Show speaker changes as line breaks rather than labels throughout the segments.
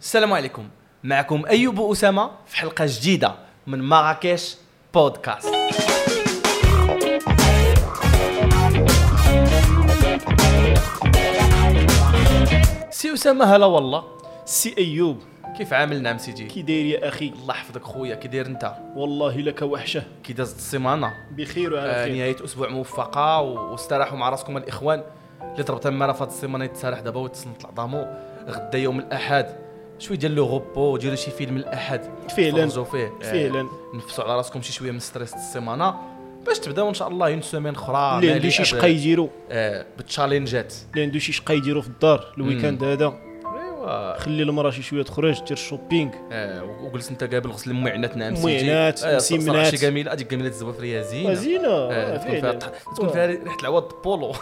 السلام عليكم معكم ايوب اسامه في حلقه جديده من مراكش بودكاست سي اسامه هلا والله
سي ايوب
كيف عامل نعم سيدي
كي داير يا اخي
الله يحفظك خويا كي داير انت
والله لك وحشه
كي دازت السيمانه
بخير وعلى
آه
خير
نهايه اسبوع موفقه و- واستراحوا مع راسكم الاخوان اللي ضربت المرة في هاد السيمانه يتسرح دابا ويتصنت العظامو غدا يوم الاحد شويه ديال لو غوبو ديروا شي فيلم الاحد
فعلا
تفرجوا فيه آه،
فعلا
نفسوا على راسكم شي شويه من ستريس السيمانه باش تبداو ان شاء الله اون سيمين اخرى
اللي عنده
مليئة
شي
ب-
شقا يديرو
آه بالتشالنجات
اللي عنده شي شقا يديرو في الدار الويكاند هذا
ايوا
خلي المراه شي شويه تخرج دير شوبينغ
آه وجلس انت قابل غسل المعنات نعم سيدي
المعنات،
آه،
مسيمنات.
صراحة شي جميله هذيك جميله الزوافريه زينه
زينه
آه،
آه،
تكون فيها
فعلا
تح- تكون
آه.
فيها ريحه العوض بولو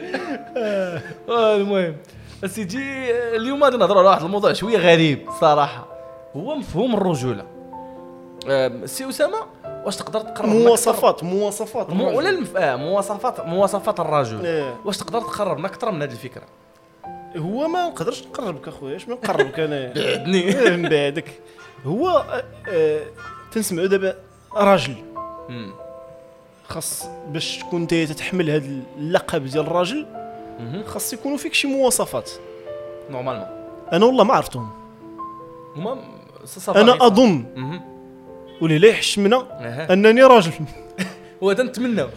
آه، المهم سيدي اليوم غادي نهضروا على واحد الموضوع شويه غريب صراحه هو مفهوم الرجوله آم، سي اسامه واش تقدر تقرر لنا
مواصفات مواصفات
أكثر- مو- ولا المف... آه مواصفات مواصفات الرجل
آه،
واش تقدر تقرر لنا اكثر من هذه الفكره
هو ما نقدرش نقربك اخويا اش ما نقربك انا
بعدني
آه، من بعدك هو آه، آه، تنسمعوا دابا راجل
مم.
خاص باش تكون انت تتحمل هذا اللقب ديال الراجل
مهم.
خاص يكونوا فيك شي مواصفات
نورمالمون
انا والله ما عرفتهم
هما
انا اظن
اظن
ولهلا يحشمنا انني راجل
أه. وهذا نتمناو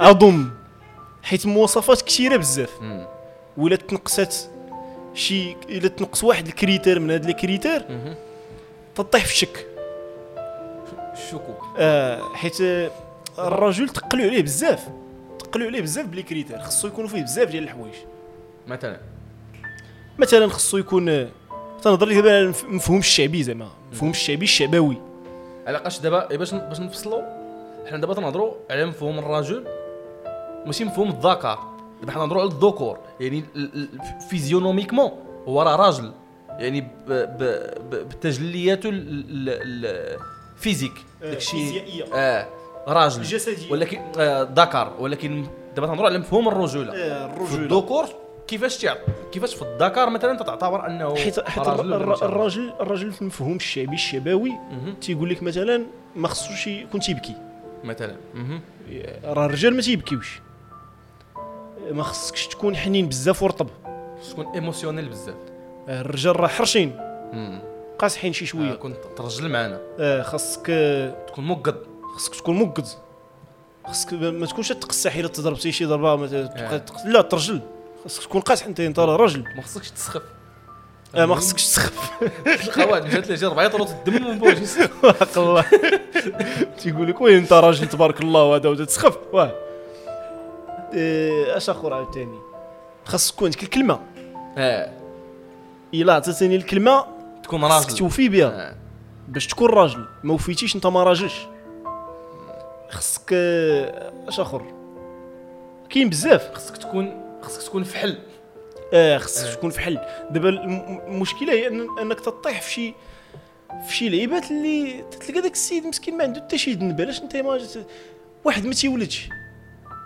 اظن حيت المواصفات كثيره بزاف
مم.
ولا تنقصات شي الا تنقص واحد الكريتير من هاد الكريتير
مهم.
تطيح في الشك
الشكوك
آه حيت آه، الرجل تقلوا عليه بزاف تقلوا عليه بزاف بلي كريتير خصو يكونوا فيه بزاف ديال الحوايج
مثلا
مثلا خصو يكون آه، تنهضر لك دابا على المف- المفهوم الشعبي زعما المفهوم الشعبي الشعبوي
على قاش دابا إيه، باش باش نفصلوا حنا دابا تنهضروا على مفهوم الرجل ماشي مفهوم الذكر دابا حنا نهضروا على الذكور يعني ال- ال- فيزيونوميكمون هو راه راجل يعني ب- ب- ب- بتجلياته ال- ال- ال- الفيزيك
آه،
داكشي
فيزيائية.
اه راجل
الجسدي
ولكن آه، ذكر ولكن دابا تنهضروا على مفهوم الرجوله
آه،
في
الرجل
الذكور كيفاش تعط- كيفاش في الذكر مثلا تتعتبر انه
حيت حيت
راجل ولا ماشي
الر-
راجل؟
الراجل الراجل في المفهوم الشعبي الشبوي
مهم.
تيقول لك مثلا ما خصوش يكون تيبكي
مثلا مهم.
راه الرجال ما تيبكيوش ما خصكش تكون حنين بزاف ورطب
تكون ايموسيونيل بزاف
الرجال راه حرشين
مم.
قاصحين شي
آه
شويه
كنت ترجل معنا
آه، خاصك آه،
تكون موقد
خاصك تكون موقد خاصك ما ما تكونش تقصح الا تضربتي شي ضربه مثلا تبقى
آه.
تق- لا ترجل خاصك تكون قاصح انت انت راه راجل
ما خصكش تسخف آه،
آه، ما خصكش تسخف
الخوات جات لي جات ربعي طرط الدم من بوجهي
حق الله تيقول لك وين انت راجل تبارك الله وهذا وهذا تسخف واه آه، اش اخر عاوتاني خاصك تكون عندك الكلمه
آه،
الا عطيتني الكلمه
تكون
خاصك
راجل
توفي بها
آه،
باش تكون راجل ما وفيتيش انت ما راجلش خصك آه، اش اخر كاين بزاف
خصك تكون خصك تكون فحل
اه
آه.
خصك تكون فحل دابا الم- المشكله هي أن- انك تطيح في شي في شي لعيبات اللي تتلقى داك السيد مسكين ما عنده حتى شي ذنب علاش انت ما جت- واحد ما تيولدش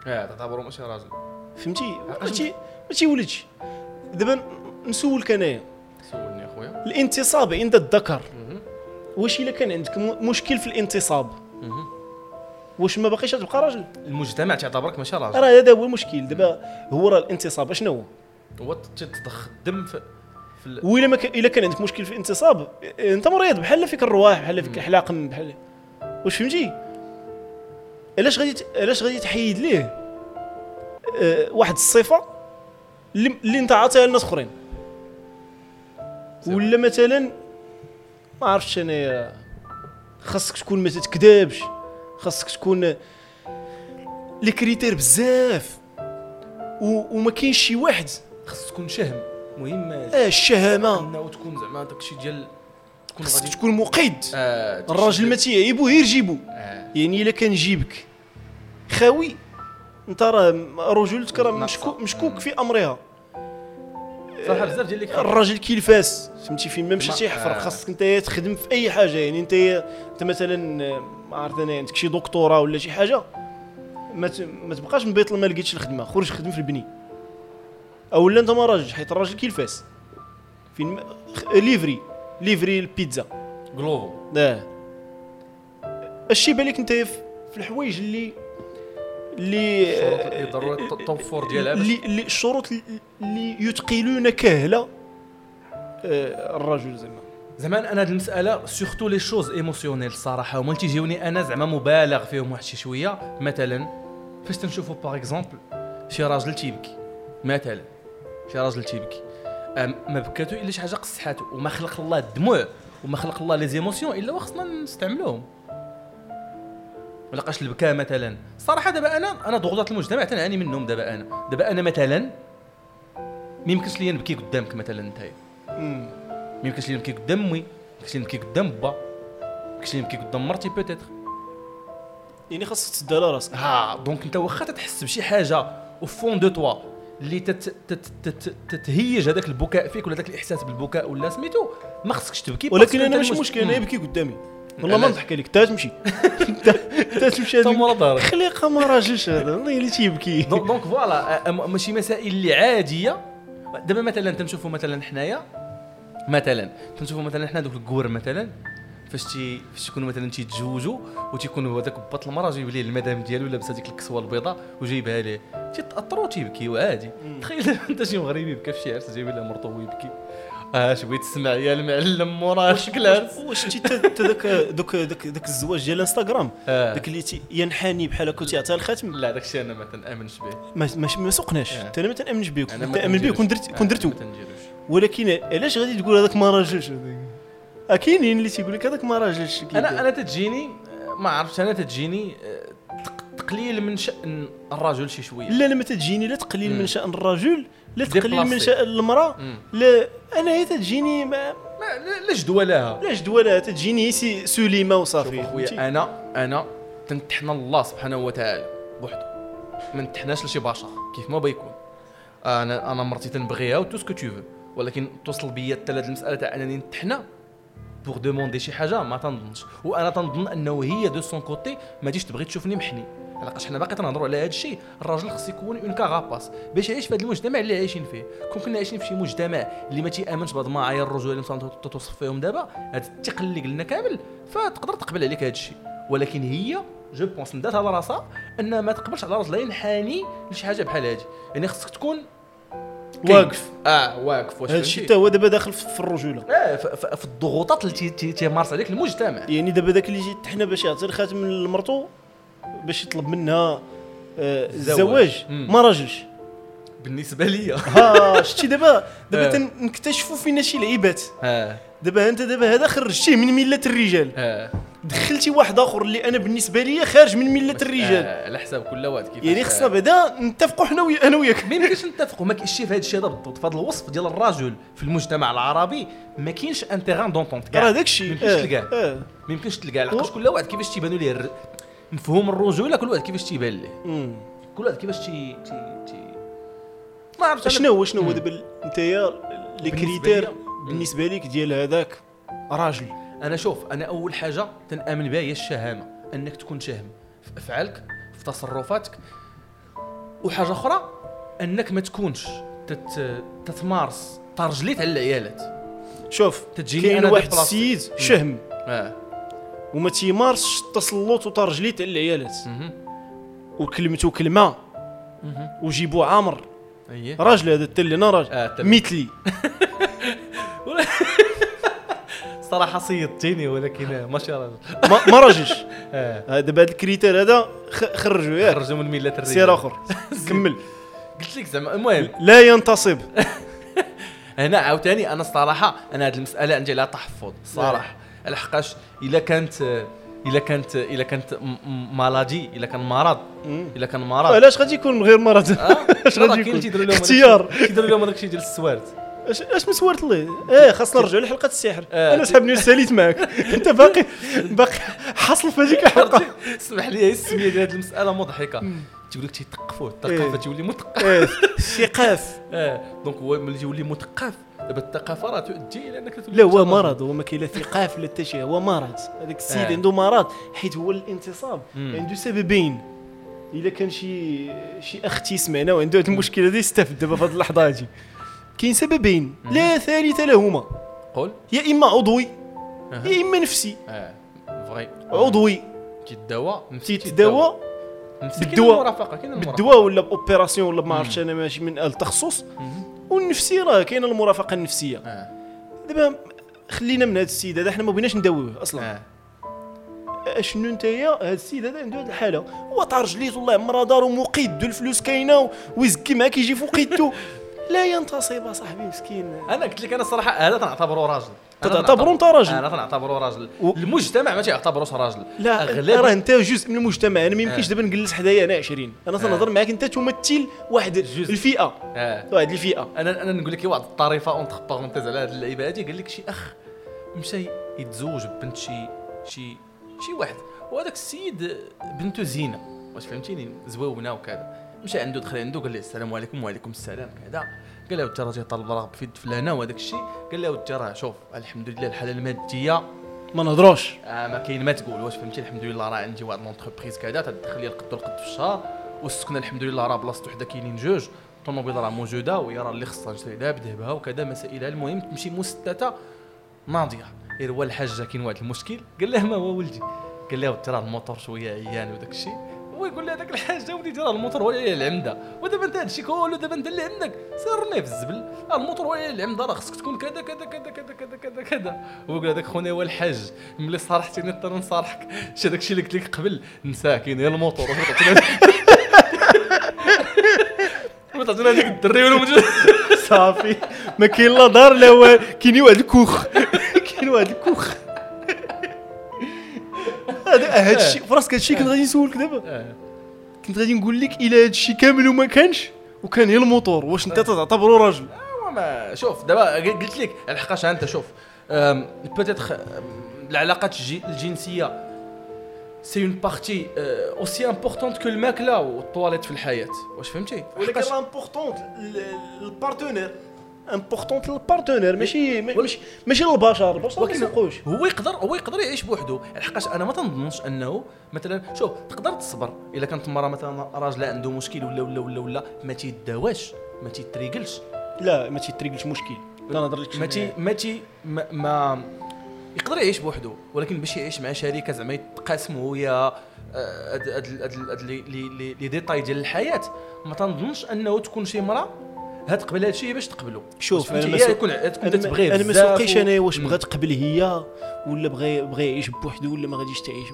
اه تعتبروا ماشي راجل
فهمتي ما
علاش
تي- ما تيولدش دابا ن- نسولك انايا
سولني اخويا
الانتصاب عند الذكر
مهم.
واش الا كان عندك م- مشكل في الانتصاب
مهم.
واش ما باقيش غتبقى راجل
المجتمع تعتبرك ماشي راجل
راه هذا هو المشكل دابا هو راه الانتصاب اشنو هو
هو تضخ الدم في في ال-
وإلا ما كان الا كان عندك مشكل في الانتصاب إيه، انت مريض بحال فيك الرواح بحال فيك الحلاقم بحال واش فهمتي علاش غادي ت- علاش غادي تحيد ليه أه واحد الصفه اللي, اللي انت عاطيها لناس اخرين
صح.
ولا مثلا ما عرفتش انايا خاصك تكون ما تتكذبش خاصك تكون لي كريتير بزاف و... وما كاينش شي واحد
خص تكون شهم مهم
اه الشهامه
انه تكون زعما داكشي ديال تكون
خاصك
غادي
تكون مقيد
آه، تكشي
الراجل
ديال-
ما تيعيبو غير جيبو
آه،
يعني الا كان جيبك خاوي انت راه م- رجولتك راه
ناقصة.
مشكوك مشكوك في امرها
صراحه بزاف ديال اللي كيخرج.
الراجل كيلفاس فهمتي فين ما مشيتي
ما-
يحفر
آه.
خاصك انت تخدم في اي حاجه يعني انت انت مثلا آه، ما عرفت انا عندك شي دكتوراه ولا شي حاجه ما ت- ما تبقاش من بيت ما لقيتش الخدمه خرج خدم في البني اولا انت ما راجل حيت الراجل كيلفاس فين ما- خ- ليفري ليفري البيتزا
جلوفو
اه الشي بالك انت في في الحوايج اللي اللي
الشروط اللي ضروري الت- التوفر ديالها باش-
اللي اللي- الشروط اللي- اللي يثقلون كهله آه، الرجل زعما
زمان انا هاد المساله سورتو لي شوز ايموسيونيل الصراحه هما اللي تيجيوني انا زعما مبالغ فيهم واحد شي شويه مثلا فاش تنشوفوا باغ اكزومبل شي راجل تيبكي مثلا شي راجل تيبكي أم- ما بكاتو الا شي حاجه قصحاتو وما خلق الله الدموع وما خلق الله لي زيموسيون الا وخصنا نستعملوهم ما لقاش البكاء مثلا صراحه دابا انا انا ضغوطات المجتمع تنعاني منهم دابا انا دابا انا مثلا ما يمكنش ليا نبكي قدامك مثلا نتايا ما يمكنش لي نبكي قدام امي ما يمكنش لي نبكي قدام با ما يمكنش لي نبكي قدام مرتي بوتيتر
يعني خاصك تسد على راسك
ها دونك انت واخا تتحس بشي حاجه او فون دو توا اللي تت تت تت تتهيج هذاك البكاء فيك ولا ذاك الاحساس بالبكاء ولا سميتو ما خصكش تبكي
ولكن انا ماشي مشكل انا يبكي قدامي والله ما
علاش؟
نضحك عليك تا تمشي تا تا تمشي
حتى
هذيك.
مورا دارك
خليقه ما راجلش هذا والله اللي تيبكي
دونك دونك فوالا أ- أم- ماشي مسائل اللي عاديه دابا مثلا تنشوفوا مثلا حنايا مثلا تنشوفوا مثلا حنا دوك الكور مثلا فاش تي فاش تيكونوا مثلا تيتزوجوا وتيكونوا هذاك باط المراه جايب ليه المدام ديالو لابسه ديك الكسوه البيضاء وجايبها ليه تيتاثروا تيبكي وعادي تخيل دابا انت شي مغربي بكى في شي عرس جايب لها مرته وهو يبكي اش بغيت تسمع يا المعلم وراه شكل عرس
واش شتي تا- تا ذاك ذاك ذاك ذاك الزواج ديال انستغرام
آه.
ذاك اللي تي- ينحني بحال هكا تيعطيها الخاتم
لا داكشي انا ما تنامنش به
ما ما- ما سوقناش
آه.
حتى انا ما تنامنش بيه
انا
كنت
ما
تامن بيه
تنديروش.
كون درت كون
آه،
درتو
ما تنديروش
ولكن علاش غادي تقول هذاك ما راجلش آه، كاينين اللي تيقول لك هذاك ما راجلش كي-
انا انا تتجيني آه، ما عرفتش انا تتجيني آه، تق- تقليل من شان الرجل شي شويه
لا لما تجيني لا تقليل
مم.
من شان الرجل لا تقليل من
ديبلاسي.
شان المراه
مم.
لا انا هي تجيني ما
ما- لا لا جدوى لها
لا جدولها تجيني سي سليمه وصافي فهمتي؟
خويا انا انا تنتحنى الله سبحانه وتعالى بوحدو ما نتحناش لشي بشر كيف ما بيكون انا انا مرتي تنبغيها وتو سكو تو فو ولكن توصل بيا حتى لهاد المساله تاع انني نتحنى بوغ دوموندي شي حاجه ما تنظنش وانا تنظن انه هي دو سون كوتي ما تجيش تبغي تشوفني محني علاقاش حنا باقي تنهضروا على هذا الشيء الراجل خص يكون اون كاغاباس باش يعيش في هذا المجتمع اللي عايشين فيه كون كنا عايشين في شي مجتمع اللي ما تيامنش بهاد المعايير الرجوله اللي مصنعة توصف فيهم دابا هاد الثقل اللي قلنا كامل فتقدر تقبل عليك هذا الشيء ولكن هي جو بونس ندات على راسها انها ما تقبلش على راجلها ينحني لشي حاجه بحال هادي يعني خصك تكون كاين.
واقف
اه واقف واش
هذا
فهمتي؟
الشيء حتى هو دابا داخل في الرجوله
اه ف- ف- في الضغوطات اللي تي- تي- تيمارس عليك المجتمع
يعني دابا داك اللي جيت حنا باش يعطي الخاتم لمرتو باش يطلب منها آه، الزواج
مم.
ما راجلش
بالنسبه ليا
ها شتي دابا
آه.
دابا تنكتشفوا فينا شي لعيبات
اه
دابا انت دابا هذا خرجتيه من مله الرجال
اه
دخلتي واحد اخر اللي انا بالنسبه ليا خارج من مله الرجال
آه، على حساب كل واحد كيفاش
يعني
آه.
خصنا بعدا نتفقوا حنا ويا انا وياك
ما يمكنش نتفقوا ما كاينش شي في هذا الشيء هذا بالضبط في هذا الوصف ديال الرجل في المجتمع العربي ما كاينش ان تيغان دونتونت كاع
راه داك
ما
الشيء
يمكنش
آه،
تلقاه
آه.
ما يمكنش تلقاه لحقاش كل واحد كيفاش تيبانوا ليه الر- مفهوم الرجوله كل واحد كيفاش تيبان ليه
مم.
كل واحد كيفاش تي تي تي ما عرفتش أنا-
شنو هو شنو هو
مم.
دابا نتايا لي كريتير بالنسبه ليك ديال هذاك راجل
انا شوف انا اول حاجه تنامن بها هي الشهامه انك تكون شهم في افعالك في تصرفاتك وحاجه اخرى انك ما تكونش تت... تتمارس ترجليت على العيالات
شوف
تجيني
كاين
أنا
واحد
بالبلاستيك.
السيد شهم
اه
وما تيمارسش التسلط وترجليت على العيالات
مهم.
وكلمته كلمه
مهم.
وجيبو عامر
ايه
راجل هذا التل انا
آه،
راجل
تل.
مثلي
صراحه صيدتيني ولكن ما شاء الله
ما ما راجلش
آه.
آه، دابا هذا الكريتير هذا خ- خرجوا ياك
خرجوا من مله الرجال
سير اخر كمل
قلت لك زعما المهم
لا ينتصب
آه. هنا عاوتاني انا الصراحه انا هذه المساله عندي عليها تحفظ صراحه لحقاش الا كانت الا كانت الا كانت م- م- مالادي الا كان مرض
مم.
الا كان مرض
علاش غادي يكون من غير مرض
آه.
اش غادي يكون اختيار
تيديروا لهم هذاك الشيء ديال السوارت
اش اش مسورت الله اه خاصنا نرجعوا لحلقه السحر
آه.
انا سحبني ساليت معاك انت باقي باقي حصل في هذيك الحلقه
اسمح لي هي السميه ديال هذه المساله مضحكه تيقول لك تيثقفوه الثقافه
إيه.
تيولي مثقف
آه، ثقاف
اه دونك هو ملي تيولي مثقف دابا الثقافه راه تؤدي الى انك تولي
لا هو
مثقف.
مرض هو ما كاين لا ثقاف لا حتى شي هو مرض هذاك السيد
آه.
عنده مرض حيت هو الانتصاب
مم.
عنده سببين الا كان شي شي اخ تيسمعنا وعنده هذه المشكله هذه يستافد دابا في هذه اللحظه هذه كاين سببين لا ثالث لهما
قول
يا اما عضوي
أها.
يا اما نفسي
اه فغي
عضوي
تيتداوى نفسي
تيتداوى
نفسي كاين
بالدواء.
المرافقه كاين المرافقه
بالدواء ولا باوبيراسيون ولا ما عرفتش انا ماشي من التخصص
مهم.
والنفسي راه كاينه المرافقه النفسيه
اه
دابا خلينا من هذا السيد هذا حنا ما بغيناش نداويوه اصلا
اه
اشنو نتايا هذا السيد هذا عنده هذه الحاله هو طارج ليت والله مرا دارو موقي يدو الفلوس كاينه و- ويزكي معاك يجي فوق يدو لا ينتصب اصاحبي مسكين
انا قلت لك انا الصراحه هذا تنعتبره راجل أنا
تتعتبره
تنعتبر-
أنت راجل.
انا تنعتبره راجل
و-
المجتمع ما تيعتبروش راجل
لا
اغلب
راه انت جزء من المجتمع انا ما يمكنش
آه.
دابا نجلس حدايا انا 20 انا تنهضر معاك انت تمثل واحد
جزء.
الفئه
آه.
واحد الفئه
انا انا نقول لك إيه، واحد الطريفه اونتخ بارونتيز على هاد اللعيبه هادي قال لك شي اخ مشى يتزوج بنت شي شي شي واحد وهذاك السيد بنته زينه واش فهمتيني زواونه وكذا مشى عنده دخل عنده قال له السلام عليكم وعليكم السلام كذا قال له ودي راه جاي طالب راه في يد فلانه وهذاك الشيء قال له ودي راه شوف الحمد لله الحاله الماديه
ما نهضروش
آه ما كاين ما تقول واش فهمتي الحمد لله راه عندي واحد لونتربريز كذا تدخل لي القد والقد في الشهر والسكن الحمد لله راه بلاصتو حدا كاينين جوج الطوموبيل راه موجوده وهي راه اللي خصها نشري لها بذهبها وكذا مسائلها المهم تمشي مستته ناضيه غير إيه، هو الحاجه كاين واحد المشكل قال له ما هو ولدي قال له ترى الموتور شويه عيان وداك الشيء هو يقول له هذاك الحاجه ولدي ترى الموتور هو اللي العمده ودابا انت هادشي كله دابا انت اللي عندك سير رميه في الزبل آه، الموتور هو اللي العمده راه خصك تكون كذا كذا كذا كذا كذا كذا كذا هو قال هذاك خونا هو الحاج ملي صارحتيني اضطر نصارحك شي داك الشيء اللي قلت لك قبل نساه كاين غير الموتور وتعطينا هذيك الدري والمجنون
صافي ما كاين لا دار لا والو كاين واحد الكوخ كاين واحد الكوخ هذا هذا الشيء في راسك هذا الشيء كنت غادي نسولك دابا
آه.
كنت غادي نقول لك الا هذا الشيء كامل وما كانش وكان غير الموتور واش انت تعتبره راجل
هو ما شوف دابا قلت لك لحقاش انت شوف بوتيتر العلاقات الجي- الجنسيه سي اون بارتي اوسي امبورطونت كو الماكله والطواليت في الحياه واش فهمتي
ولكن
لحقاش-
امبورطونت البارتنير امبورطونت للبارتنير ماشي
ماشي-
إيه. ماشي للبشر البشر
ولكن هو يقدر هو يقدر يعيش بوحده لحقاش انا ما تنظنش انه مثلا شوف تقدر تصبر الا كانت مرة مثلا راجل عنده مشكل ولا ولا ولا ولا ما تيداواش ما تيتريقلش
لا ما تيتريقلش مشكل لا نهضر لك
ما تي ما تي ما, ما يقدر يعيش بوحده ولكن باش يعيش مع شريكه زعما يتقاسموا ويا آه، هاد هاد هاد- هاد لي- لي- لي لي ديتاي ديال الحياه ما تنظنش انه تكون شي امراه هاد تقبل هاد الشيء باش تقبلو
شوف،
انا
أنا ما
هي
سو-
يكون تكون
انا
تبغيه
ما- انا ما
بزاف
سوقيش
و-
انا واش
مم.
بغات تقبل هي ولا بغى بغى يعيش بوحده ولا ما غاديش تعيش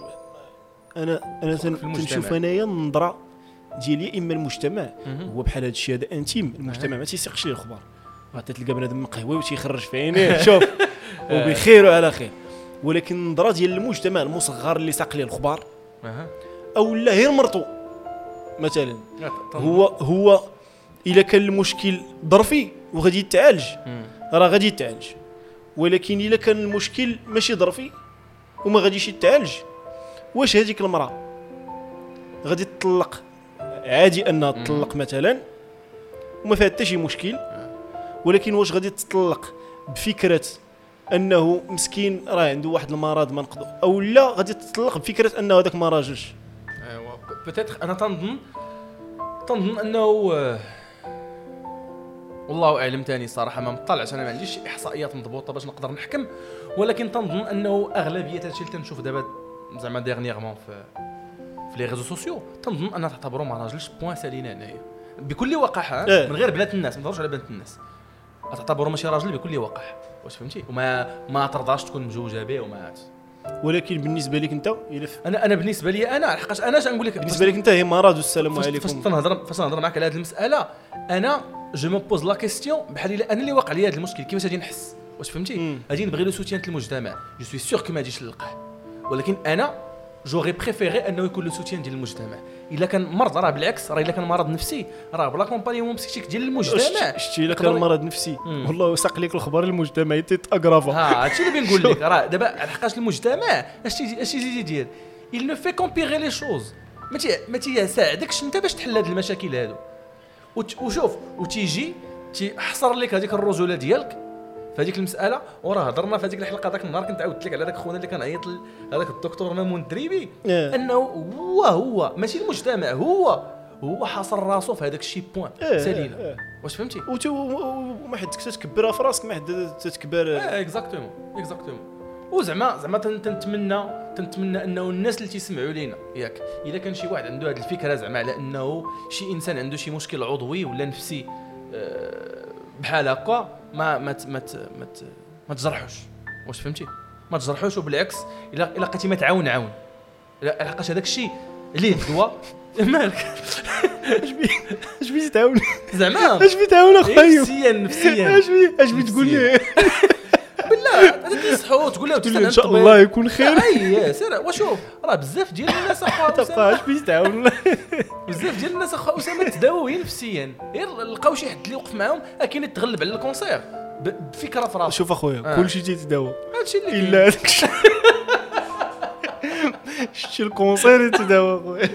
انا انا تن-
في المجتمع.
تنشوف انايا النظره ديالي اما المجتمع
مهم.
هو بحال هذا الشيء هذا انتيم المجتمع ما تيسيقش ليه الخبر غادي تلقى بنادم مقهوي وتيخرج في عينيه شوف وبخير وعلى خير ولكن النظره ديال المجتمع المصغر اللي ساق ليه الخبار
أها.
او لا غير مرتو مثلا
لا، تنظن-
هو هو الا كان المشكل ظرفي وغادي يتعالج
مم.
راه غادي يتعالج ولكن الا كان المشكل ماشي ظرفي وما غاديش يتعالج واش هذيك المراه غادي تطلق عادي انها تطلق مثلا وما فيها حتى شي مشكل ولكن واش غادي تطلق بفكره انه مسكين راه عنده واحد المرض ما نقدر او لا غادي تطلق بفكره انه هذاك ما راجلش
ايوا بوتيتر انا أيوة. تنظن تنظن انه آه، والله اعلم تاني صراحه ما مطلعش انا ما عنديش شي احصائيات مضبوطه باش نقدر نحكم ولكن تنظن انه اغلبيه هادشي اللي تنشوف دابا زعما ديرنييغمون في في لي ريزو سوسيو تنظن انها تعتبروا ما راجلش بوان سالينا هنايا بكل وقاحه
إيه.
من غير بنات الناس ما نهضروش على بنات الناس تعتبروا ماشي راجل بكل وقاحه واش فهمتي وما ما ترضاش تكون مزوجه به وما هاد.
ولكن بالنسبه لك انت الا ف-
انا انا بالنسبه لي انا لحقاش انا اش نقول لك
بالنسبه لك انت هي مرض والسلام
فاش فاش
عليكم
تنهضر فاش تنهضر معك على هذه المساله انا جو مو بوز لا كيستيون بحال الا انا اللي واقع لي هذا المشكل كيفاش غادي نحس واش فهمتي
مم.
غادي نبغي لو سوتيان ديال المجتمع جو سوي سيغ كو ما غاديش نلقاه ولكن انا جوغي بريفيري انه يكون لو سوتيان ديال المجتمع الا كان مرض راه بالعكس راه الا كان مرض نفسي راه بلا كومبانيون بسيكتيك ديال المجتمع
شتي- شتي لك
يقدر-
المرض النفسي
مم.
والله ساق لك الخبر المجتمعي تيتاغرافا
ها هادشي اللي بنقول لك راه دابا لحقاش المجتمع اش تيجي اش تيجي يدير il ne fait qu'empirer les choses ما تي ما تيساعدكش انت باش تحل هاد المشاكل هادو وت- وشوف وتيجي تيحصر لك هذيك الرجوله ديالك فهذيك المساله وراه هضرنا في هذيك الحلقه ذاك النهار كنت عاودت لك على ذاك خونا اللي كان عيط هذاك الدكتور مامون الدريبي
إيه.
انه هو هو ماشي المجتمع هو هو حاصر راسو في هذاك الشي بوان
إيه، إيه،
سالينا
إيه.
واش فهمتي
وت- و- وما حدك تتكبرها في راسك ما حد تتكبر
اه اكزاكتومون اكزاكتومون وزعما زعما تن- تنتمنى تنتمنى انه الناس اللي تيسمعوا لينا ياك اذا كان شي واحد عنده هذه الفكره زعما على انه شي انسان عنده شي مشكل عضوي ولا نفسي آه، بحال هكا ما ما ت- ما ت- ما ت- ما تجرحوش واش فهمتي ما تجرحوش وبالعكس الا الا لقيتي ما تعاون عاون لا- لحقاش هذاك الشيء ليه الدواء مالك
اش بي تعاون
زعما
اش بي تعاون
إيه،
اخويا
نفسيا نفسيا
اش بي اش بي تقول لي
بالله هذاك يصحوا تقول له
تقول لي ان شاء الله يكون خير
اي سير وشوف راه بزاف ديال الناس اخا أسامة-
تبقى اش بي تعاون
بزاف ديال الناس اخا اسامه تداوي نفسيا غير لقاو شي حد اللي وقف معاهم اكيد تغلب على الكونسير ب- بفكره في راسو
شوف اخويا
آه.
كلشي تيتداوى
هادشي اللي كاين.
الا هذاك الشيء. شتي الكونسير تداوى اخويا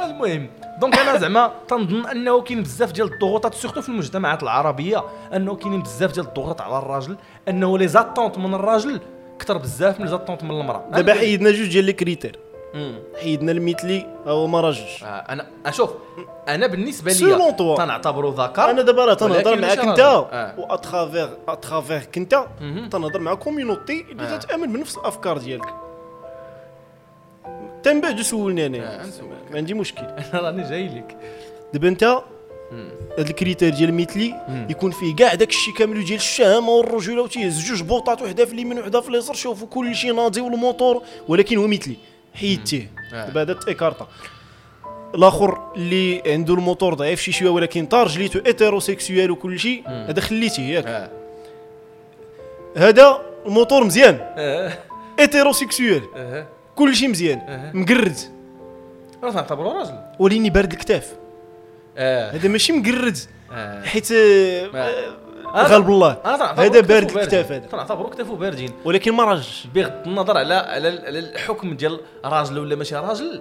آه، المهم دونك انا زعما تنظن انه كاين بزاف ديال الضغوطات سورتو في المجتمعات العربيه انه كاينين بزاف ديال الضغوطات على الراجل انه لي زاتونت من الراجل كثر بزاف من لي زاتونت من المراه
دابا حيدنا جوج ديال لي كريتير
مم.
حيدنا المثلي هو ما راجلش
آه، انا اشوف انا بالنسبه لي
Selon toi.
تنعتبرو ذكر
انا دابا راه تنهضر
ولكن
معاك
ماشي
انت
راجل. آه.
واترافيغ اترافيغك انت
مهم.
تنهضر مع كوميونيتي اللي
آه.
تتامن بنفس الافكار ديالك تا من بعد سولني
آه،
انا
نسولك.
ما عندي مشكل
انا راني جاي لك
دابا انت
مم.
هاد الكريتير ديال المثلي يكون فيه كاع داك الشيء كامل ديال الشهامه والرجوله وتيهز جوج بوطات وحده في اليمين وحده في اليسار شوفوا كل شيء ناضي والموتور ولكن هو مثلي حيدتيه
آه.
دابا هذا تيكارتا الاخر اللي عنده الموتور ضعيف شي شويه ولكن طار جليتو ايتيروسيكسيوال وكل شيء هذا خليتيه ياك
آه.
هذا الموتور مزيان
اه
ايتيروسيكسيوال
اه
كل شيء مزيان
آه.
مقرد
راه تنعتبرو راجل
وليني بارد الكتاف
اه
هذا ماشي مقرد
اه
حيت آه،
آه.
آه، غالب الله
انا تنعتبرو
هذا
كتافو
بارد
باردين.
الكتاف هذا
تنعتبرو كتافو باردين
ولكن ما راجلش
بغض النظر على على ال- على الحكم ديال راجل ولا ماشي راجل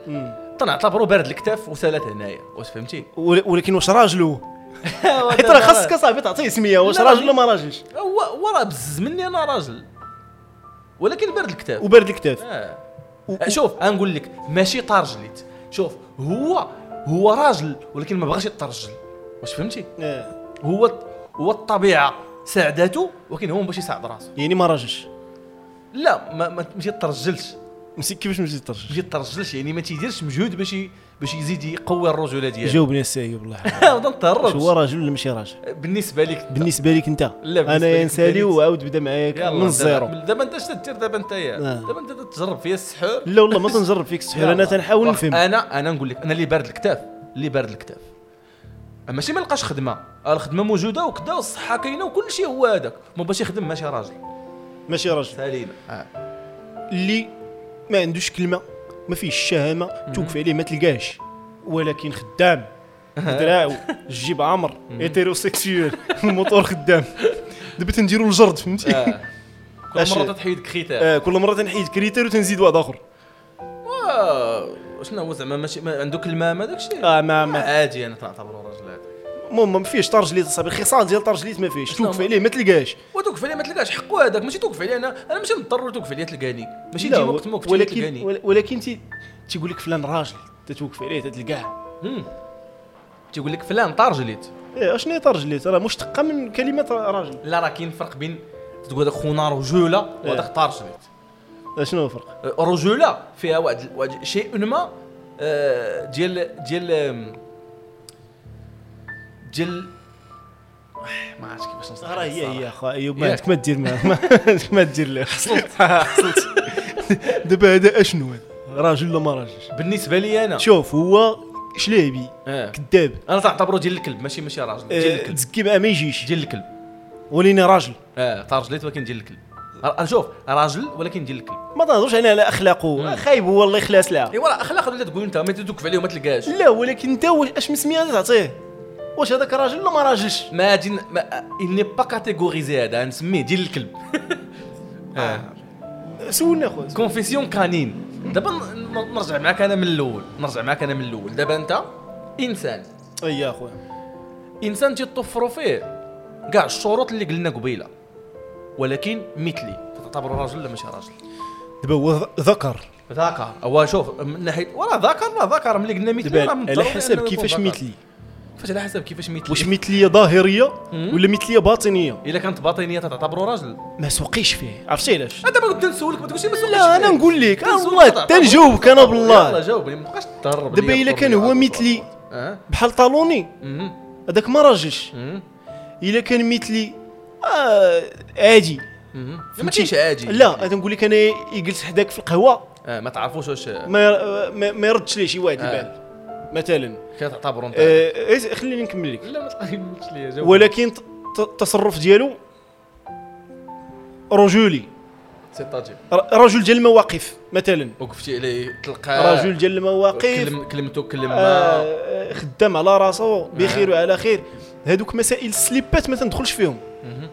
تنعتبرو بارد الكتاف وسالات هنايا واش فهمتي
ول- ولكن واش راجلو حيت
حيت
راه خاصك اصاحبي تعطيه سميه واش
لا،
راجل
لا.
ولا ما راجلش
هو هو راه بزز مني انا راجل ولكن بارد الكتاف
وبارد الكتاف
آه.
و-
آه، شوف غنقول لك ماشي طرجليت شوف هو هو راجل ولكن ما بغاش يترجل واش فهمتي
آه.
هو هو الطبيعه ساعدته ولكن هو ما باش يساعد راسه
يعني ما راجلش
لا ما ما ما ترجلش
مسك كيفاش ما تيطرش
ما ترجلش يعني ما تيديرش مجهود باش ي- باش يزيد يقوي الرجوله ديالو
جاوبني السايب والله
ما
واش هو
تنتهربش
راجل ولا ماشي راجل
بالنسبه لك أنت.
بالنسبه لك انت
بالنسبة
انا
لك
يا
أنت
نسالي
ليت.
وعاود بدا معايا
يلا
من
دابا-
الزيرو
دابا انت اش تدير دابا انت يا
آه.
دابا انت تتجرب فيا السحور
لا والله ما تنجرب فيك السحور انا
يلا. أه.
تنحاول
واخ-
نفهم
انا انا نقول لك انا اللي بارد الكتاف اللي بارد الكتاف ماشي ما لقاش خدمه آه، الخدمه موجوده وكذا والصحه كاينه وكل شيء هو هذاك ما باش يخدم ماشي راجل
ماشي راجل
سالينا آه.
اللي ما عندوش كلمه ما فيهش الشهامه توقف عليه ما تلقاهش ولكن خدام
أه.
دراعو الجيب عامر ايتيروسيكسيوال الموتور خدام دابا تنديرو الجرد فهمتي
آه. كل
أش-
مره تحيد كخيتها
آه، كل مره تنحيد كريتير وتنزيد واحد اخر
آه، شنو هو زعما ماشي ما عنده كلمه ما داك الشيء
اه ما ما
عادي انا تنعتبره راجل عادي
المهم ما فيهش طرجليت اصاحبي الخصال ديال طرجليت ما فيهش
شنو
توقف
هو؟
عليه ما تلقاهش
وتوقف عليه ما تلقاش حقو هذاك ماشي توقف عليه انا انا ماشي مضطر توقف عليه تلقاني ماشي
لا،
تجي وقت ما وقت ما
ولكن
تلقاني
ول- ولكن تي يعني. تيقول لك فلان راجل تتوقف عليه تتلقاه
مم. تيقول لك فلان طارجليت
ايه اشنو هي طرجليت راه مشتقه من كلمه را- راجل
لا راه كاين فرق بين تقول هذاك خونا رجوله وهذاك طارجليت
شنو هو الفرق
الرجوله فيها واحد واحد شيء ما آه، ديال ديال آم، ديال آه، ما عرفتش كيفاش نصدق
راه هي هي اخا ايوب ما
ياك.
عندك ما دير معاه ما عندك ما دير له حصلت دابا هذا اشنو هذا؟ راجل ولا ما راجلش
بالنسبه لي انا
شوف هو شليبي
آه.
كذاب
انا تعتبره ديال الكلب ماشي ماشي راجل ديال
آه،
الكلب
تزكي معاه ما يجيش
ديال الكلب
ولينا راجل
اه طارجليت ولكن ديال الكلب ر- انا شوف راجل ولكن ديال الكلب
ما تهضرش على على اخلاقه آه، خايب هو الله يخلاص لها
ايوا راه اخلاق اللي تقول انت ما تدوك عليه وما تلقاش
لا ولكن انت واش اش من سميه تعطيه واش هذاك راجل ولا ما راجلش
ما دين ما اني با كاتيغوريزي هذا نسميه ديال الكلب آه.
سولنا خويا
كونفيسيون كانين دابا ن- ن- نرجع معاك انا من الاول نرجع معاك انا من الاول دابا انت انسان
اي يا خويا
انسان تيطفروا فيه كاع الشروط اللي قلنا قبيله ولكن مثلي تعتبره راجل ولا ماشي راجل
دابا هو ذ- ذكر
ذكر هو شوف من ناحيه ولا ذكر لا ذكر ملي قلنا مثلي
دابا
راه من
على
الضروري
حسب
أنه يكون
كيفاش
ذكر.
مثلي
فاش على حسب كيفاش مثلي
واش مثليه ظاهريه
مم.
ولا مثليه باطنيه
الا كانت باطنيه تعتبره راجل
ما سوقيش فيه عرفتي علاش
دابا كنت نسولك ما تقولش لي ما سوقش
لا انا
فيه.
نقول لك
كنسولك
أنا والله
تعتبره
حتى نجاوبك انا
راجل. يلا
بالله
جاوبني ما تبقاش تهرب
دابا
ليا
الا
في
كان هو
الرياضة.
مثلي
اه
بحال طالوني
مهم.
هذاك ما راجلش
مهم.
الا كان مثلي آه عادي
مهم. ما
فهمتي؟
تجيش عاجي
لا انا نقول لك انا يجلس حداك في القهوه
آه، ما تعرفوش واش آه،
ما ير- ما- ما يردش ليه شي واحد
آه. طيب.
البال مثلا
كتعتبروا انت
آه، إيه، خليني نكمل لك
لا ما تقولش لي جاوب
ولكن ت- ت- التصرف ديالو رجولي
سي طاجي
ر- رجل ديال المواقف مثلا
وقفتي عليه تلقى
رجل ديال المواقف
كلم كلمته كلم
آه،
ما
آه، خدام على
آه.
راسو بخير وعلى خير هذوك مسائل السليبات ما تندخلش فيهم
مهم.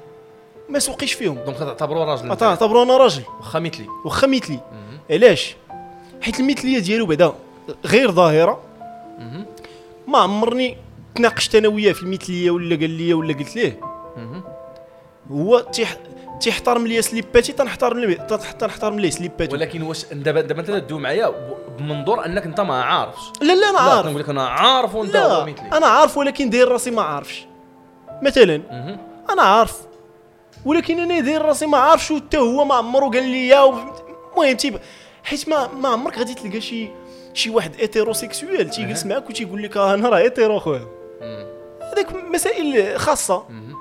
ما سوقيش فيهم
دونك تعتبروا راجل
أتا- اعتبروا انا راجل
واخا مثلي
واخا مثلي علاش حيت المثليه ديالو بعدا غير ظاهره
مهم.
ما عمرني تناقشت انا وياه في المثليه ولا قال لي ولا قلت ليه
مهم.
هو تيح تيحترم ليا سليباتي تنحترم ليه تنح- تنحترم ليه سليباتي
ولكن واش دابا دابا انت تدوي معايا ب- بمنظور انك انت ما عارفش
لا لا انا
لا
عارف
نقول لك انا عارف وانت
لا
هو مثلي
انا عارف ولكن داير راسي ما عارفش مثلا
مهم.
انا عارف ولكن انا داير راسي ما عارفش وتا هو ما عمرو قال لي يا وفهمت- المهم تيب حيت ما ما عمرك غادي تلقى شي شي واحد ايتيروسيكسويال تيجلس معاك وتيقول لك آه، انا راه ايتيرو خويا
مم.
هذاك مسائل خاصه
مهم.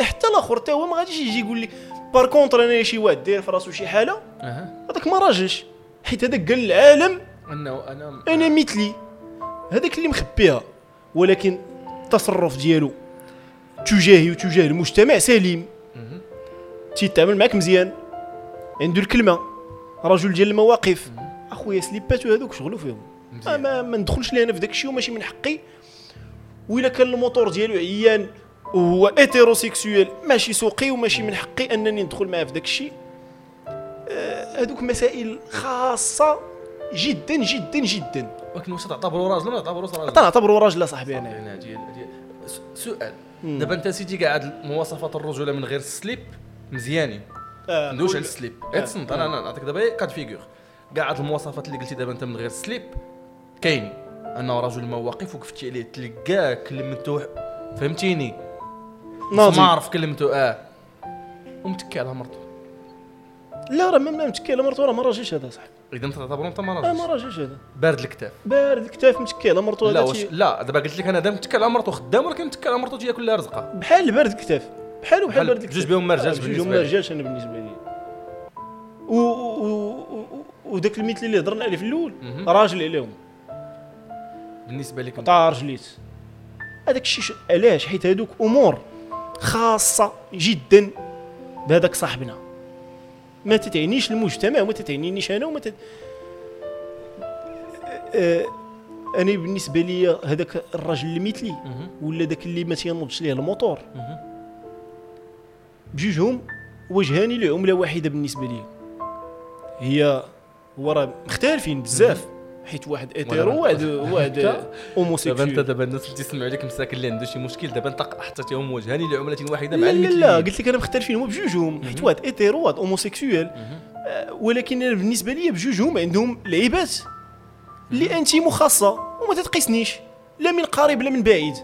حتى الاخر حتى هو ما غاديش يجي يقول لي بار كونتر انا شي واحد داير في راسو شي حاله
اها
هذاك ما راجلش حيت هذاك قال للعالم
انه انا
انا مثلي هذاك اللي مخبيها ولكن التصرف ديالو تجاهي وتجاه المجتمع سليم
مهم.
تيتعامل معك مزيان عنده الكلمه رجل ديال المواقف اخويا سليباتو هذوك شغلوا فيهم ما,
مزيان.
ما, ما ندخلش لي انا في داك الشيء وماشي من حقي وإلا كان الموتور ديالو عيان وهو ايتيروسيكسويال ماشي سوقي وماشي من حقي انني ندخل معاه في داك الشيء آه، هذوك مسائل خاصه جدا جدا جدا
آه، ولكن واش تعتبروا راجل ولا ما تعتبروش راجل
تنعتبرو راجل اصاحبي انا
هنا ديال- ديال- س- سؤال
مم.
دابا انت سيدي قاعد مواصفات الرجوله من غير السليب مزيانين
آه،
ندوش
كل-
على السليب
آه،
اتسنت انا انا نعطيك دابا كاد فيغور كاع هاد المواصفات اللي قلتي دابا انت من غير السليب كاين انه رجل مواقف وقفتي عليه تلقاه كلمته فهمتيني
ناضي.
ما عرف كلمته اه ومتكي على مرته
لا راه ما ما متكي على مرته راه ما راجلش هذا صاحبي
اذا انت تعتبره انت ما
آه، ما
راجل
راجلش هذا
بارد الكتاف
بارد الكتاف متكي على مرته
لا
هذا
واش
تي-
لا دابا قلت لك انا دابا متكي على مرته خدام ولكن متكي على مرته تياكل لها رزقها
بحال بارد الكتاف بحالو بحال
بحال-
بارد
جوج
الكتاف
بيهم ما
آه،
رجعش
جوج بيهم ما
بالنسبة لي.
رجعش انا بالنسبه لي و و- و- وداك المثل اللي هضرنا عليه في الاول
مهم.
راجل عليهم
بالنسبه لك انت
قطع رجليت هذاك الشيء ش- علاش حيت هذوك امور خاصه جدا بهذاك صاحبنا ما تتعنيش المجتمع وما تتعنينيش انا وما تت... آه، انا بالنسبه لي هذاك الراجل المثلي
مهم.
ولا ذاك اللي ما تينوضش ليه الموتور
مهم.
بجوجهم وجهان لعمله واحده بالنسبه لي هي هو راه مختلفين بزاف حيت واحد ايتيرو واحد واحد
دابا انت
هوموسيكسوال
دابا الناس اللي تسمعوا عليك مساكن اللي عنده شي مشكل دابا انت حطيتيهم وجهاني لعمله واحده مع
لا لا
المثليين
لا قلت لك انا مختلفين هما بجوجهم حيت واحد ايتيرو واحد هوموسيكسوال آه، ولكن انا بالنسبه لي بجوجهم عندهم لعيبات اللي انتيم خاصه وما تتقيسنيش لا من قريب لا من بعيد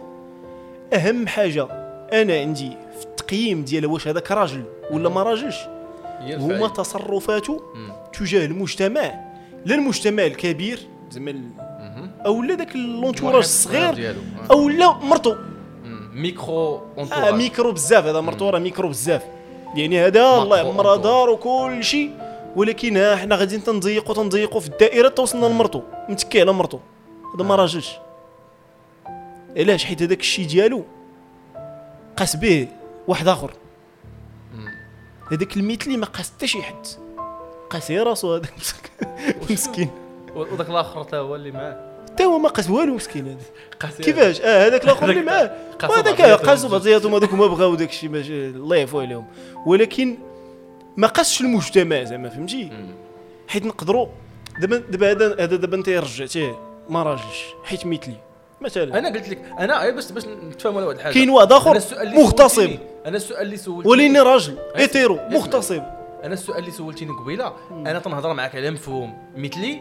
اهم حاجه انا عندي في التقييم ديال واش هذاك راجل ولا ما راجلش
هي
هما
الفايدة.
تصرفاته
مم.
تجاه المجتمع لا المجتمع الكبير زعما ال-
مهم.
او لا داك اللونتوراج
المحيط
الصغير
ديالو. آه.
او لا مرتو
مم. ميكرو
آه
اونتوراج
ميكرو بزاف هذا مرتو راه ميكرو بزاف يعني هذا الله يعمرها
أنطو.
دار وكل شيء ولكن ها حنا غاديين تنضيقوا تنضيقوا في الدائره توصلنا لمرتو متكي على مرتو هذا ما راجلش علاش حيت هذاك الشيء ديالو قاس به واحد اخر هذاك المثلي ما قاس حتى شي حد قاس غير راسو هذاك مسكين
وذاك الاخر تا هو اللي معاه
حتى هو ما قاس والو مسكين هذا
قاسي
كيفاش اه هذاك الاخر اللي معاه
قاسوا
وهذاك
بعضياتهم
قاسوا
بجوج.
بعضياتهم هذوك ما بغاو داك الشيء باش آه، الله يعفو عليهم ولكن ما قاسش المجتمع زعما فهمتي
مم.
آه، حيت نقدروا دابا دابا هذا هذا دابا انت رجعتيه ما راجلش حيت مثلي مثلا
انا قلت لك انا غير باش باش نتفاهموا على واحد الحاجه
كاين واحد آخر
أنا السؤال اللي
مغتصب.
سولتيني- انا السؤال اللي سولتني
وليني راجل
أي-
ايتيرو
أي-
مغتصب
انا السؤال اللي سولتيني قبيله انا تنهضر معك على مفهوم مثلي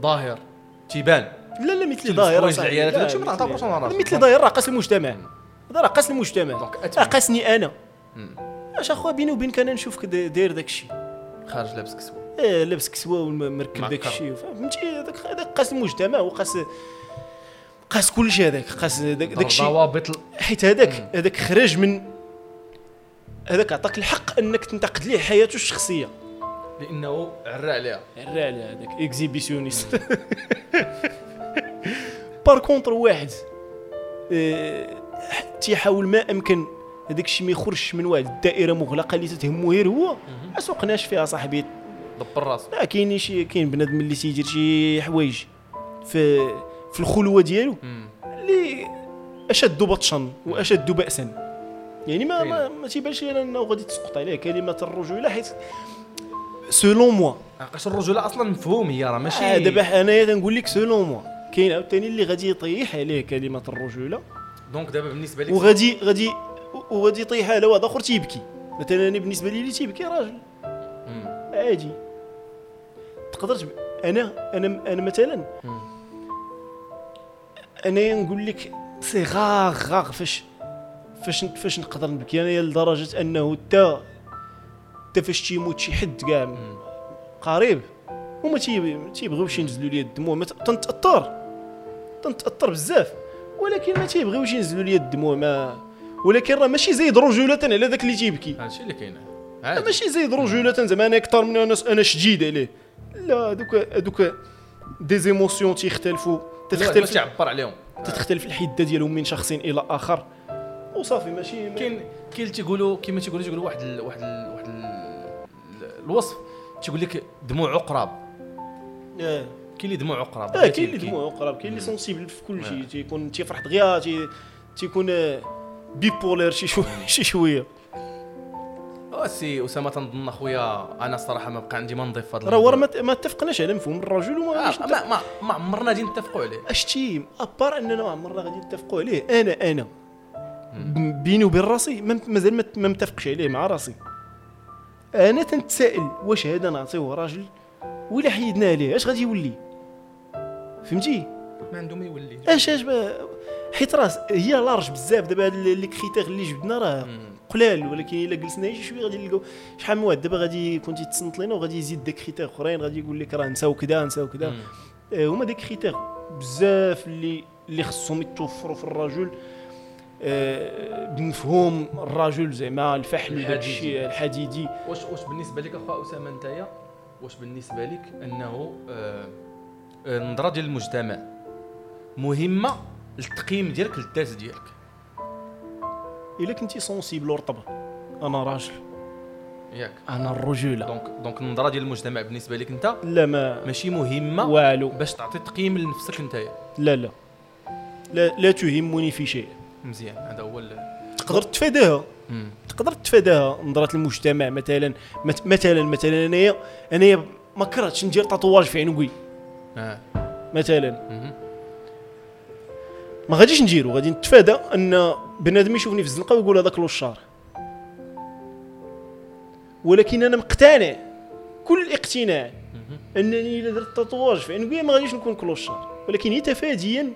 ظاهر تيبان
لا لا مثلي
تلبس
ظاهر
فوايج
أصاحبي.
العيالات،
لا،
هادشي ما
مثلي-
نعتبروش أنا راجل.
مثلي ظاهر راه قاس المجتمع هذا راه قاس المجتمع
دونك أتمنى.
راه قاسني انا
مم.
اش اخويا بيني وبينك انا نشوفك دا- داير داك الشيء
خارج لابس كسوه
آه، لابس كسوه ومركب داك
معكر.
الشيء فهمتي هذاك هذاك قاس المجتمع وقاس قاس كل شيء هذاك قاس داك داك الشيء
ضوابط ال-
حيت هذاك هذاك خرج من هذاك عطاك الحق انك تنتقد ليه حياته الشخصيه
لانه عرى عليها
عرى على هذاك اكزيبيسيونيست بار كونتر واحد آه، تيحاول ما امكن هذاك الشيء ما يخرجش من واحد الدائره مغلقه اللي تتهمه غير هو ما سوقناش فيها صاحبي
دبر راسو
لا كاين شي كاين بنادم اللي تيدير شي حوايج في في الخلوه ديالو
مم.
اللي اشد بطشا واشد باسا يعني ما ما, ما تيبانش لي انه غادي تسقط عليه كلمه الرجوله حيت سولون موا
عقاش الرجوله اصلا مفهوم هي راه ماشي
آه، دابا انايا تنقول لك سولون موا كاين عاوتاني اللي غادي يطيح عليه كلمه الرجوله
دونك دابا بالنسبه لك
وغادي غادي وغادي يطيح على واحد اخر تيبكي مثلا انا بالنسبه لي اللي تيبكي راجل
مم.
عادي تقدر تب... انا انا انا مثلا
مم.
انا نقول لك سي غاغ غاغ فاش فاش فاش نقدر نبكي يعني انايا لدرجه انه حتى حتى فاش تيموت شي حد كاع قريب وما تي- ما تيبغيوش ينزلوا لي الدموع ما ت- تنتاثر تنتاثر بزاف ولكن ما تيبغيوش ينزلوا لي الدموع ما ولكن راه ماشي زايد رجوله على ذاك اللي تيبكي
هادشي اللي كاين
لا،
عادي
ماشي زايد رجوله زعما انا اكثر من انا انا شديد عليه لا دوك دوك دي زيموسيون تيختلفوا
تختلف
تتختلف
تعبر عليهم
تتختلف الحده ديالهم من شخص الى اخر وصافي ماشي
كاين كاين اللي تيقولوا كيما تيقولوا تيقولوا واحد ال واحد ال واحد ال الوصف تيقول لك دموع عقرب
آه.
كاين اللي دموع عقرب
اه كاين اللي دموع قراب كاين اللي سونسيبل في
آه.
كل شيء تيكون تيفرح دغيا تي- تيكون آه، بيبولير شي شويه شي شويه
اه سي اسامه تنظن اخويا انا الصراحه ما بقى عندي ما نضيف في هذا
راه هو راه
الموضوع.
ما ت- ما اتفقناش على مفهوم الرجل وما
آه،
غاديش
ما ما ما عمرنا غادي نتفقوا عليه
اشتي ابار اننا ما عمرنا غادي نتفقوا عليه انا انا ب- بيني وبين راسي ما- مازال ما- ما متفقش عليه مع راسي انا تنتسائل واش هذا نعطيوه راجل ولا حيدنا عليه اش غادي يولي فهمتي
ما عنده ما يولي
اش اش ب- حيت راس هي لارج بزاف دابا هاد لي كريتير اللي جبدنا راه
مم.
قلال ولكن الا قلسنا شي شويه غادي نلقاو شحال من واحد دابا غادي يكون تيتصنت لينا وغادي يزيد داك كريتير اخرين غادي يقول لك راه نساو كذا نساو كذا
مم.
آه، هما دي كريتير بزاف اللي اللي خصهم يتوفروا في الرجل آه، بمفهوم الرجل زعما الفحل وداك
الحديدي.
الشيء الحديدي
واش واش بالنسبه لك اخويا اسامه انتيا واش بالنسبه لك انه آه، آه، النظره ديال المجتمع مهمه للتقييم ديالك للذات ديالك
الا كنتي سونسيبل ورطبه انا راجل
ياك
انا الرجوله
دونك دونك النظره ديال المجتمع بالنسبه لك انت
لا ما
ماشي مهمه
والو
باش تعطي تقييم لنفسك انتيا
لا لا لا, لا تهمني في شيء
مزيان هذا هو ال-
تقدر تتفاداها
مم.
تقدر تتفاداها نظره المجتمع مثلا مت- مثلا مثلا انايا انايا ما كرهتش ندير تاتواج في عنقي
آه.
مثلا
مهم.
ما غاديش نديرو غادي نتفادى ان بنادم يشوفني في الزنقه ويقول هذاك لوشار ولكن انا مقتنع كل اقتناع انني الا درت تاتواج في عنقي ما غاديش نكون كلوشار ولكن هي تفاديا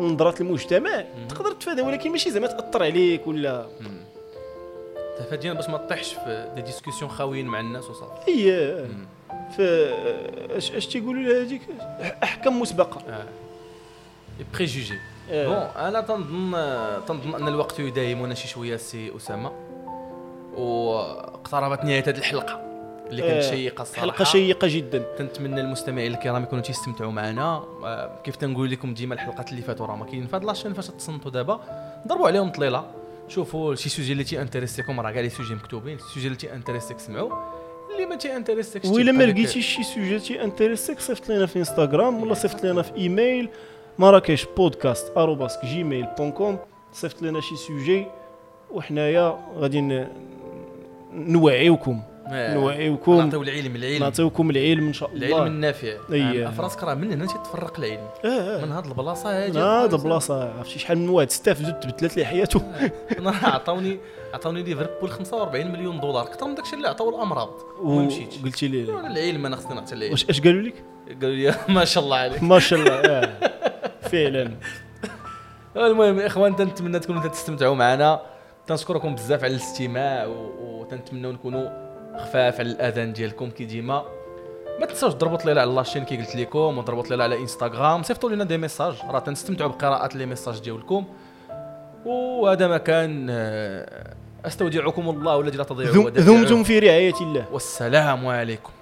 نظرات المجتمع تقدر تتفادى ولكن ماشي زعما تاثر عليك ولا
تفادينا باش ما تطيحش في دي ديسكسيون خاويين مع الناس وصافي
هي ف اش اش تيقولوا لها هذيك احكام مسبقه
آه. بريجوجي
آه.
بون انا تنظن تنظن euh, ان الوقت يداهمنا شي شويه سي آه، اسامه واقتربت نهايه هذه الحلقه اللي كانت
آه،
شيقه الصراحه
حلقه شيقه جدا
تنتمنى المستمعين الكرام يكونوا تيستمتعوا معنا آه، كيف تنقول لكم ديما الحلقات اللي فاتوا راه ما كاين فهاد لاشين فاش تصنتوا دابا ضربوا عليهم طليله شوفوا شي سوجي اللي تيانتريسيكم راه كاع لي سوجي مكتوبين السوجي اللي تيانتريسيك سمعوا اللي ما تيانتريسيكش
وإلا ما
تيبقى لك-
لقيتيش شي سوجي تي انتريسيك صيفط لنا في انستغرام ولا صيفط لنا في ايميل مراكش بودكاست آروباسك جيميل بون كوم صيفط لنا شي سوجي وحنايا غادي ن- نوعيوكم نوعيوكم
آه، نعطيو العلم العلم
نعطيوكم العلم ان شاء
العلم
الله
النافع
أيه.
عن فراسك راه من هنا تتفرق العلم
اه
من هاد البلاصه هادي
هذا بلاصه عرفتي شحال من واحد استفزو تبدلت ليه حياته
انا راه عطاوني عطاوني ليفربول 45 مليون دولار اكثر من داكشي اللي عطاو الامراض وما مشيتش
وقلتي لي لا.
انا العلم انا خصني نعطي العلم
واش اش قالوا لك
قالوا لي ما شاء الله عليك
ما شاء الله آه. فعلا
المهم يا اخوان تنتمنى تكونوا تستمتعوا معنا تنشكركم بزاف على الاستماع و- وتنتمنوا نكونوا خفاف على الاذان ديالكم كي ديما ما تنساوش تضربوا ليلى على لاشين كي قلت لكم وضربوا ليلى على انستغرام صيفطوا لنا دي ميساج راه تنستمتعوا بقراءه لي ميساج ديالكم وهذا ما كان آه، استودعكم الله الذي لا تضيع
ذم-
ودائعه.
ذمتم في رعايه الله
والسلام عليكم